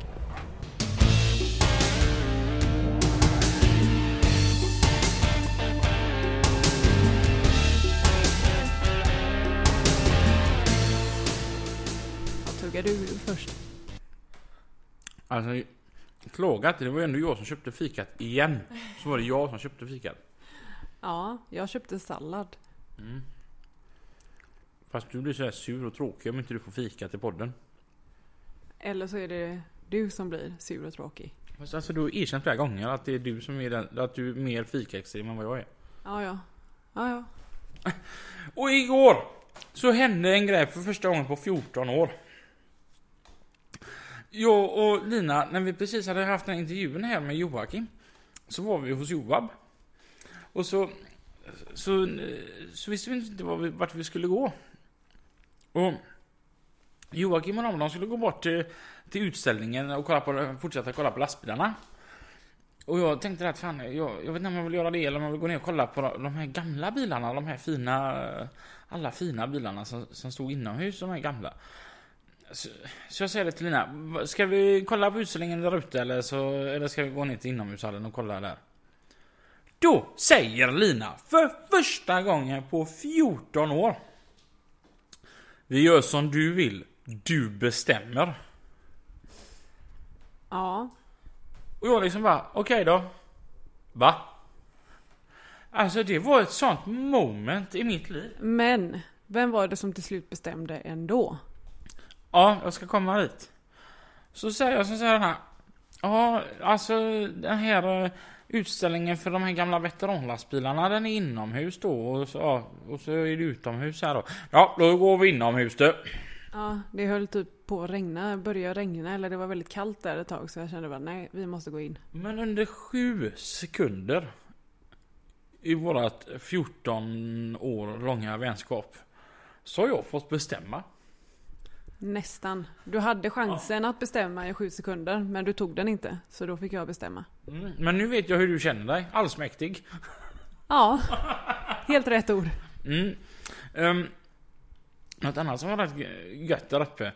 Vad tuggar du först?
Alltså, klaga inte. Det var ju ändå jag som köpte fikat igen. Så var det jag som köpte fikat.
Ja, jag köpte sallad.
Fast du blir så här sur och tråkig om inte du får fika till podden.
Eller så är det du som blir sur och tråkig.
Fast alltså, du har erkänt flera gånger att det är du som är den, att du är mer fikaextrem än vad jag är.
Ja, ja. Ja, ja.
Och igår så hände en grej för första gången på 14 år. Jag och Lina, när vi precis hade haft den här intervjun här med Joakim, så var vi hos Joab. Och så, så, så visste vi inte var vi, vart vi skulle gå. Och Joakim och de, de skulle gå bort till, till utställningen och kolla på, fortsätta kolla på lastbilarna. Och jag tänkte att fan, jag, jag vet inte om jag vill göra det eller om jag vill gå ner och kolla på de de här gamla bilarna, de här fina, eh, alla fina bilarna som, som stod inomhus, de här gamla. Så, så jag säger det till Lina, "Va- ska vi kolla på utställningen där ute eller, så, eller ska vi gå ner till inomhushallen och kolla där? Då säger Lina, för första gången på 14 år. Vi gör som du vill, du bestämmer.
Ja,
Och jag liksom bara, okej då. Va? Alltså det var ett sånt moment i mitt liv.
men vem var det som till slut bestämde ändå?
Ja, jag ska komma dit. Så säger jag så säger den här. Ja, alltså den här eh, utställningen för de här gamla veteranlastbilarna den är inomhus då och så, ja, och så är det utomhus här då. Ja, då går vi inomhus du.
Ja, det höll typ på att regna, börja regna eller det var väldigt kallt där ett tag så jag kände bara nej, vi måste gå in.
Men under sju sekunder i vårat 14 år långa vänskap så har jag fått bestämma.
Nästan. Du hade chansen att bestämma i sju sekunder, men du tog den inte. Så då fick jag bestämma.
Mm. Men nu vet jag hur du känner dig. Allsmäktig.
Ja, helt rätt ord.
Mm. Um, något annat som var rätt gö- gött där uppe.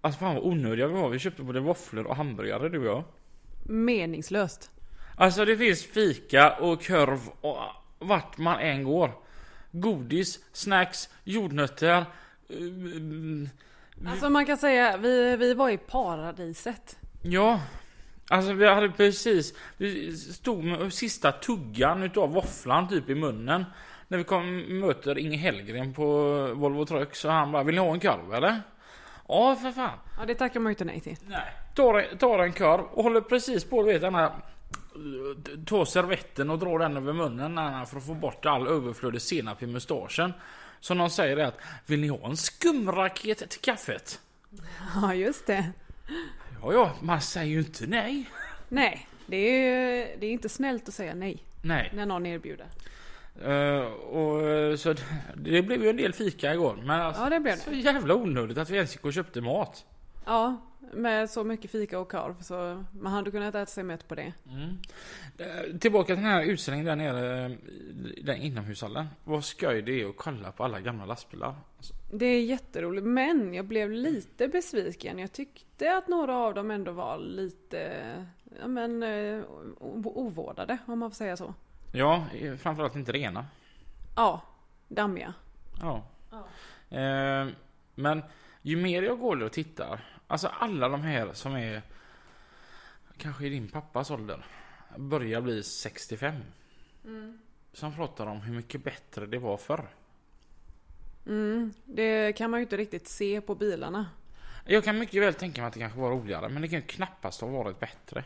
Alltså fan vad onödiga vi var. Vi köpte både våfflor och hamburgare du och jag.
Meningslöst.
Alltså det finns fika och korv och vart man än går. Godis, snacks, jordnötter. ehm,
Alltså man kan säga, vi, vi var i paradiset.
Ja. Alltså vi hade precis, vi stod med sista tuggan utav våfflan typ i munnen. När vi kom, möter Inge Hellgren på Volvo Truck så han bara, vill ni ha en korv eller? Ja för fan.
Ja, det tackar man ju inte nej till.
Nej. Tar, tar en korv och håller precis på, du vet den här... Tar servetten och drar den över munnen Anna, för att få bort all överflödig senap i mustaschen. Så någon säger det att, vill ni ha en skumraket till kaffet?
Ja, just det.
Ja, ja, man säger ju inte nej.
Nej, det är, det är inte snällt att säga nej
Nej.
när någon erbjuder.
Eh, och, eh, så det, det blev ju en del fika igår. Men alltså,
Ja, det blev det.
så jävla onödigt att vi ens gick och köpte mat.
Ja, med så mycket fika och korv så man hade kunnat äta sig mätt på det.
Eh, Tillbaka till den här utställningen där nere, eh, i den inomhushallen. Vad skoj det är att kolla på alla gamla lastbilar. Alltså,
Det är jätteroligt, men jag blev lite besviken. Jag tyckte att några av dem ändå var lite, ja men, eh, o- ovårdade om man får säga så.
Ja, eh, framförallt inte rena.
Ja, dammiga.
Ja. Eh, men ju mer jag går där och tittar, alltså alla de här som är kanske i din pappas ålder, börjar bli 65. Som pratar om hur mycket bättre det var förr.
Mm, det kan man ju inte riktigt se på bilarna.
Jag kan mycket väl tänka mig att det kanske var roligare, men det kan ju knappast ha varit bättre.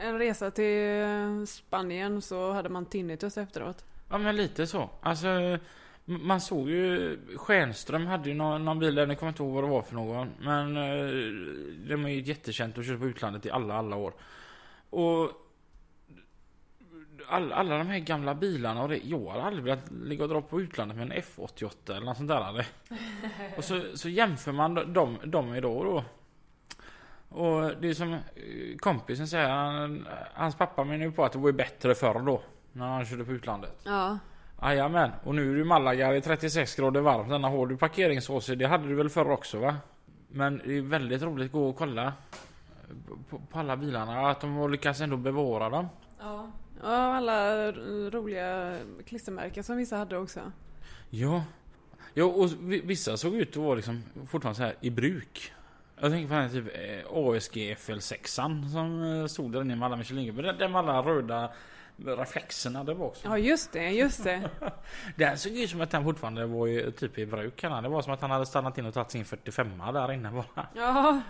En resa till eh, Spanien så hade man tinnitus efteråt.
Ja men lite så. Alltså, m- man såg ju... Stjernström hade ju någon, någon bil där, nu kommer jag inte ihåg vad det var för någon. Men eh, de är ju jättekänt och körde på utlandet i alla, alla år. Och... All, alla de här gamla bilarna och det, jag har aldrig velat ligga och dra på utlandet med en F88 eller något sånt där. hade. Och så, så jämför man dem, dem idag då. Och det är som eh, kompisen säger, han, hans pappa menar ju på att det var ju bättre förr då. När han körde på utlandet.
Ja,
Jajamän, och nu är du i Malaga, det är 36 grader varmt. Denna har du parkeringsåsig, det hade du väl förr också va? Men det är väldigt roligt att gå och kolla på, på alla bilarna, att de har lyckats ändå bevara dem.
Ja. alla eh, roliga klistermärken som vissa hade också.
Ja. Ja, och vi- vissa såg ut att vara liksom fortfarande så här i bruk. Jag tänker på den här typ eh, ASG FL6 som eh, stod där inne med alla Michelin-gubbar. Den- Den med alla röda reflexerna där bak.
Ja, just det, just det.
Den såg ut som att den fortfarande var i, typ i bruk. han. Det var som att han hade stannat in och tagit sin 45 där inne bara.
Ja,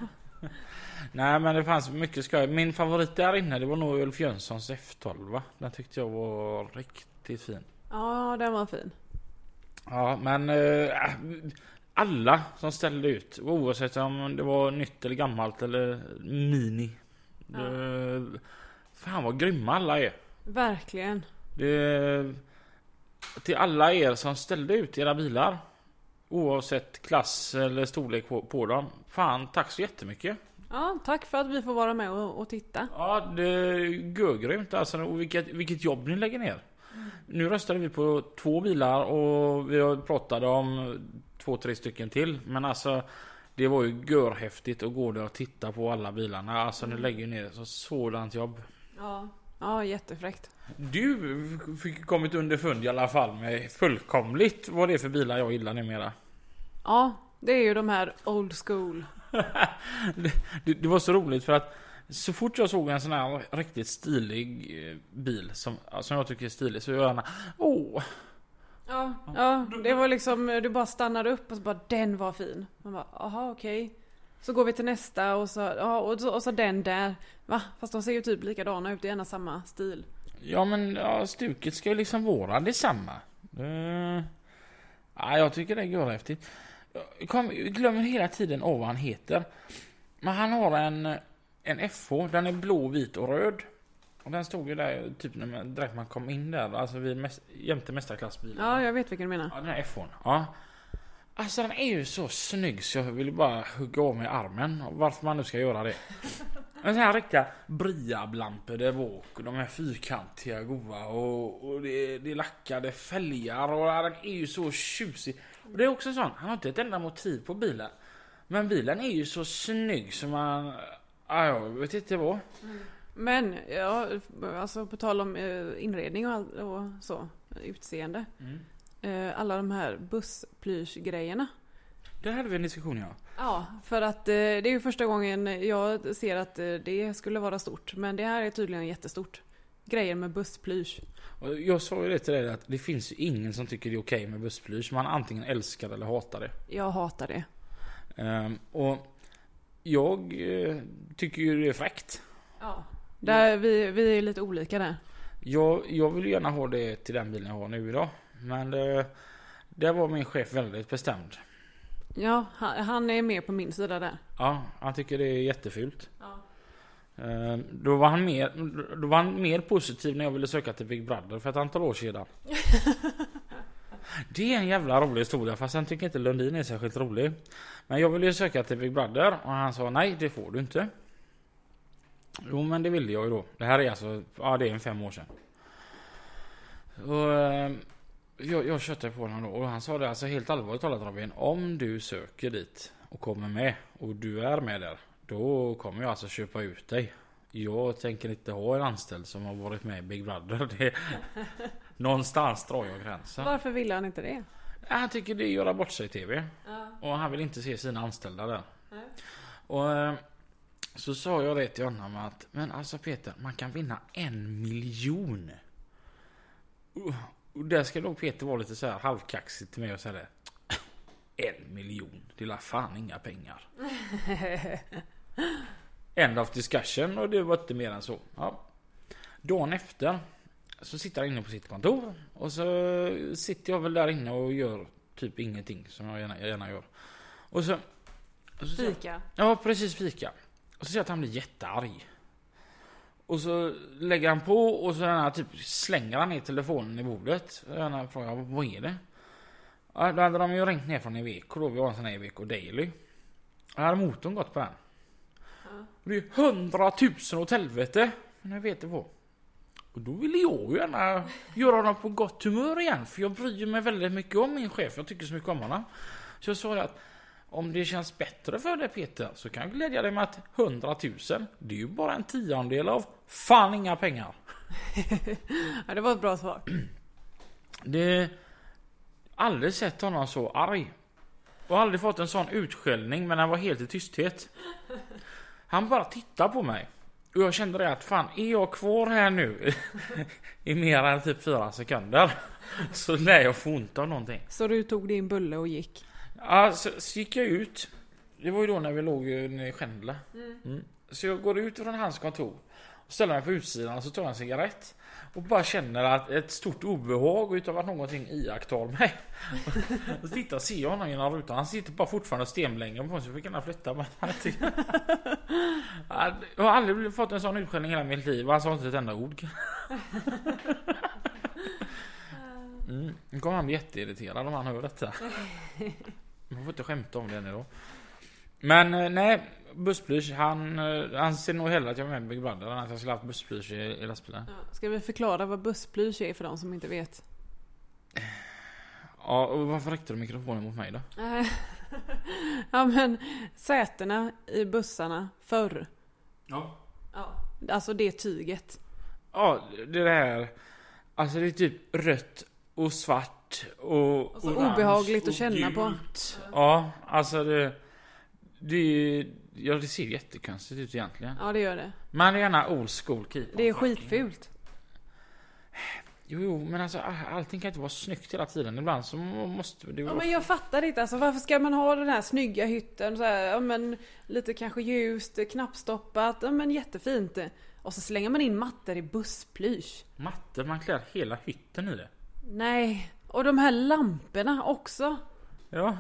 Nej men det fanns mycket skoj. Min favorit där inne det var nog Ulf Jönssons F12. Den tyckte jag var riktigt fin.
ja den var fin.
Ja men eh, alla som ställde ut oavsett om det var nytt eller gammalt eller mini. Det, fan vad grymma alla är.
Verkligen.
Det, till alla er som ställde ut era bilar. Oavsett klass eller storlek på, på dem. Fan tack så jättemycket.
Ja, tack för att vi får vara med och, och titta.
Ja, det är grymt alltså. Och vilket, vilket jobb ni lägger ner. Nu röstade vi på två bilar och vi har pratade om två, tre stycken till. Men alltså, det var ju görhäftigt att gå där och titta på alla bilarna. Alltså, ni lägger ju ner så sådant jobb.
Ja. Ja, jättefräckt.
Du fick kommit underfund i alla fall med fullkomligt vad det är för bilar jag gillar numera.
Ja, det är ju de här old school.
det, det, det var så roligt för att så fort jag såg en sån här riktigt stilig eh, bil som, som jag tycker är stilig så gör jag gärna Åh!
Ja, ja, det var liksom, du bara stannade upp och så bara den var fin. Man bara, aha okej. Så går vi till nästa och så, ja, och så, och så den där. Va? Fast de ser ju typ likadana ut, det är gärna samma stil.
Ja men ja, stuket ska ju liksom vara detsamma. Uh, ja, jag tycker det är häftigt. Jag kom, jag glömmer hela tiden av vad han heter. Men han har en, en FH, den är blå, vit och röd. Och den stod ju där typ när man, direkt man kom in där, alltså vid mäst, jämte mästarklassbilen.
Ja, jag vet vilken du menar.
Ja, den här FH'n. Ja. Alltså den är ju så snygg så jag vill bara hugga av mig armen. Varför man nu ska göra det. Men så här riktiga briablampor där bak och de är fyrkantiga goa och, och det, är- det är lackade fälgar och den är ju så tjusig. Och det är också sån, han har inte ett enda motiv på bilen. Men bilen är ju så snygg som man... Ja, jag vet inte vad.
Men, ja, alltså på tal om eh, inredning och, all, och så, utseende. Eh, alla de här bussplysgrejerna.
Där hade vi en diskussion ja.
Ja, för att eh, det är ju första gången jag ser att eh, det skulle vara stort. Men det här är tydligen jättestort. Grejer med bussplysch.
Och Jag sa ju det till dig att det finns ju ingen som tycker det är okej med bussplys. Man antingen älskar eller hatar det.
Jag hatar det.
Ehm, och jag eh, tycker ju det är fräckt.
Ja. Där, vi, vi är lite olika där.
Jag, jag vill ju gärna ha det till den bilen jag har nu idag. Men eh, där var min chef väldigt bestämd.
Ja, han, han är mer på min sida där.
Ja, han tycker det är jättefult. Ehm, Då var, han mer, då var han mer positiv när jag ville söka till Big Brother för ett antal år sedan. Det är en jävla rolig historia fast han tycker inte Lundin är särskilt rolig. Men jag ville ju söka till Big Brother och han sa nej det får du inte. Jo men det ville jag ju då. Det här är alltså, ja det är en fem år sedan. Och, ehm, jag, jag köttade på honom då och han sa det alltså helt allvarligt talat Robin. Om du söker dit och kommer med och du är med där. Då kommer jag alltså köpa ut dig. Jag tänker inte ha en anställd som har varit med i Big Brother. Det, någonstans drar jag gränsen.
Varför ville han inte det?
Eh, Han tycker det är att göra bort sig i TV. Och han vill inte se sina anställda där. Och eh, så sa jag det till honom att Men alltså Peter, man kan vinna en miljon. Och- Och där ska nog Peter vara lite så här halvkaxig till mig och säga det. En miljon, det är la fan inga pengar. End of discussion och det var inte mer än så. Ja. Dagen efter så sitter han inne på sitt kontor och så sitter jag väl där inne och gör typ ingenting som jag gärna, jag gärna gör. Och så... och så-
Fika.
Ja, precis fika. Och så ser jag att han blir jättearg. Och så lägger han på och så den här typ slänger han ner telefonen i bordet. Och Den här frågar vad är det? Ja, då hade de ju ringt ner från Iveco då. Vi har en sån här Iveco Daily. Då hade motorn gått på den. Och det är ju hundratusen åt helvete. Men jag vet det vad. Och då ville jag ju gärna göra honom på gott humör igen. För jag bryr mig väldigt mycket om min chef. Jag tycker så mycket om honom. Så jag sa det att om det känns bättre för dig Peter så kan jag glädja dig med att 100 000 det är ju bara en tiondel av fan inga pengar.
Ja, det var ett bra svar.
Det... Aldrig sett honom så arg. Och aldrig fått en sån utskällning men han var helt i tysthet. Han bara tittade på mig. Och jag kände det att fan är jag kvar här nu i mer än typ fyra sekunder så lär jag få ont av någonting.
Så du tog din bulle och gick?
Ja, så, så gick jag ut. Det var ju då när vi låg ju nere i Skändla. Mm. Så jag går ut från hans kontor. Och ställer mig på utsidan och så tar jag en cigarett. Och bara känner att ett stort obehag utav att någonting iakttar mig. och så tittar ser jag honom genom rutan. Han sitter bara fortfarande stenlänge på mig så jag fick gärna flytta mig. Han är inte- Ja, jag har aldrig blivit- fått en sån utskällning i hela mitt liv. Han sa inte ett enda ord. mm. Nu kommer han bli jätteirriterad om han hör detta. Man får inte skämta om det än idag. Men eh, nej, bussblysch. Han eh, anser nog hellre att jag var med i Big Brother än att jag skulle haft bussblysch i, i lastbilen.
Ja. Ska vi förklara vad bussplysch är för de som inte vet?
Ja, och varför räckte du mikrofonen mot mig då?
ja men sätena i bussarna förr.
Ja.
Ja. Alltså det tyget.
Ja, det där. Alltså det är typ rött och svart och,
Och så Alltså, obehagligt att känna på.
Ja, alltså det... Det, är- ja, det ser ju jättekonstigt ut egentligen.
Ja det gör det.
Man är gärna old school keep on
Det är
trucking.
skitfult.
Jo, jo, men alltså allting kan inte vara snyggt hela tiden. Ibland så måste det
Ja, men jag fattar inte alltså varför ska man ha den här snygga hytten så här, ja, men lite kanske ljust, knappstoppat, ja men jättefint. Och så slänger man in mattor i bussplysch.
Matte, man klär hela hytten i det.
Nej. Och de här lamporna också.
Ja.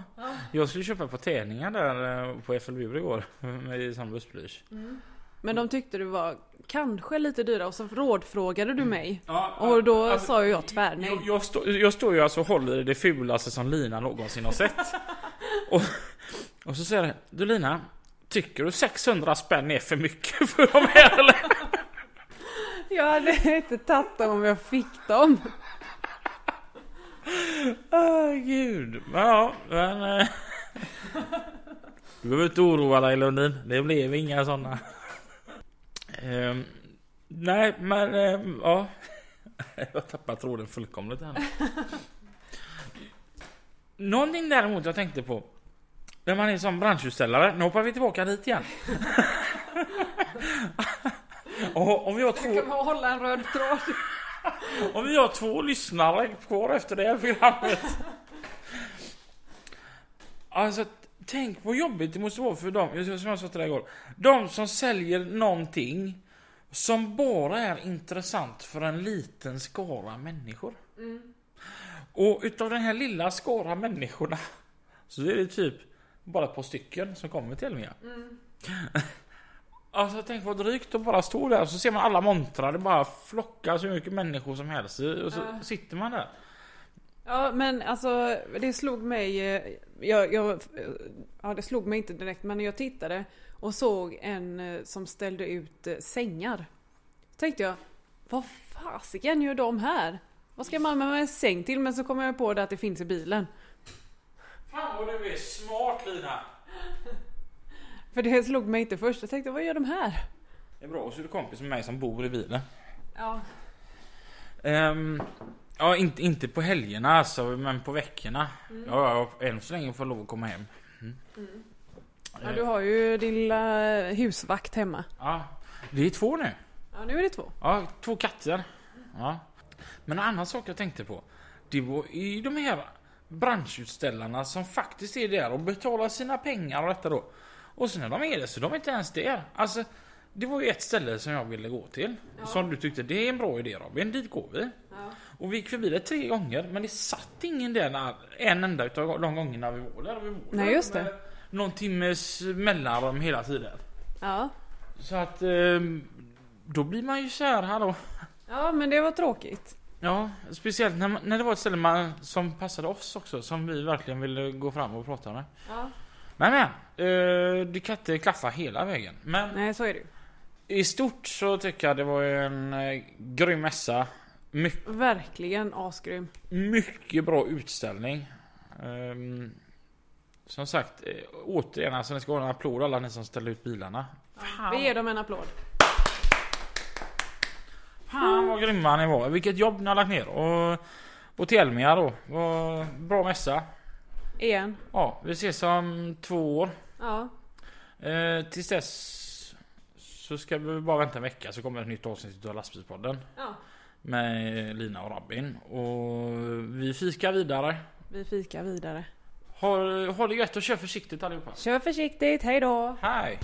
Jag skulle köpa på tävlingar där eh, på FLBur igår med i sån bussblysch.
Men de tyckte du var kanske lite dyra och så rådfrågade du mig.
Ja,
Och då
alltså,
sa ju jag tvärnej.
Jag, jag, står- jag står ju alltså och håller i det fulaste som Lina någonsin har sett. Och, och så säger jag du Lina, tycker du 600 spänn är för mycket för de här eller?
Jag hade inte tagit dem om jag fick dem.
Åh Ah, gud. Ja, men... eh, Du behöver inte oroa dig Lundin. Det blev inga sådana. Ehm, nej, men ehm, ja. Jag tappar tråden fullkomligt här nu. Någonting däremot jag tänkte på. När man är som branschutställare. Nu hoppar vi tillbaka dit igen. Och om vi har två...
Kan man hålla en röd tråd?
Om vi har två lyssnare kvar efter det här programmet. Alltså, tänk vad jobbigt det måste vara för dem, som jag sa till dig igår. De som säljer någonting som bara är intressant för en liten skara människor. Mm. Och utav den här lilla skara människorna så är det typ bara ett par stycken som kommer till Elmia. Alltså tänk vad drygt att bara stå där och så ser man alla montrar. Det bara flockar så mycket människor som helst. Och så sitter man där.
Ja men alltså det slog mig, eh, jag, jag, eh, ja det slog mig inte direkt men jag tittade och såg en eh, som ställde ut eh, sängar. Tänkte jag, vad fasiken gör de här? Vad ska man med en säng till? Men så kom jag på det att det finns i bilen.
Fan vad du är smart Lina!
För det slog mig inte först. Jag tänkte, vad gör de här?
Det är bra, och så är du kompis med mig som bor i bilen.
Ja.
Ehm, ja, inte, inte på helgerna alltså, men på veckorna. Ja, ja, än så länge får jag lov att komma hem. Mm. Ehm,
ja du har ju din lilla eh, husvakt hemma.
Ja, det är två nu.
Ja nu är det två.
Ja, två katter. Ja. Men en annan sak jag tänkte på. Det var ju de här branschutställarna som faktiskt är där och betalar sina pengar och detta då. Och sen när de är det så de är inte ens där. Alltså, det var ju ett ställe som jag ville gå till. Som du tyckte, det är en bra idé Robin, dit går vi. Och vi gick förbi det tre gånger men det satt ingen där när, en enda utav de gångerna vi var där. Vi var
Nej,
där
just det.
med Någon timmes mellanrum hela tiden.
Ja.
Så att ehm, då blir man ju så här, hallå.
Ja men det var tråkigt.
Ja, speciellt när, man- när det var ett ställe man, som passade oss också, som vi verkligen ville gå fram och prata med.
Ja.
Men men, eh, det kan inte klaffa hela vägen. Men
Nej så är det ju.
i stort så tycker jag det var en eh, grym mässa. My-
Verkligen asgrym.
mycket bra utställning. Ehm, som sagt, eh, återigen alltså ni ska ha en applåd alla ni som ställer ut bilarna.
Vi ger dem en applåd.
Fan vad grymma ni var, vilket jobb ni har lagt ner. Och, och till Elmia då, Vad bra mässa.
Igen.
Ja, vi ses om två år.
Ja.
Eh, tills dess så ska vi bara vänta en vecka så kommer ett nytt avsnitt av Lastbilspodden
ja.
med Lina och Robin. Och vi fikar vidare.
Vi fikar vidare.
Ha, ha det gött och kör försiktigt allihopa.
Kör försiktigt, hej då!
Hej!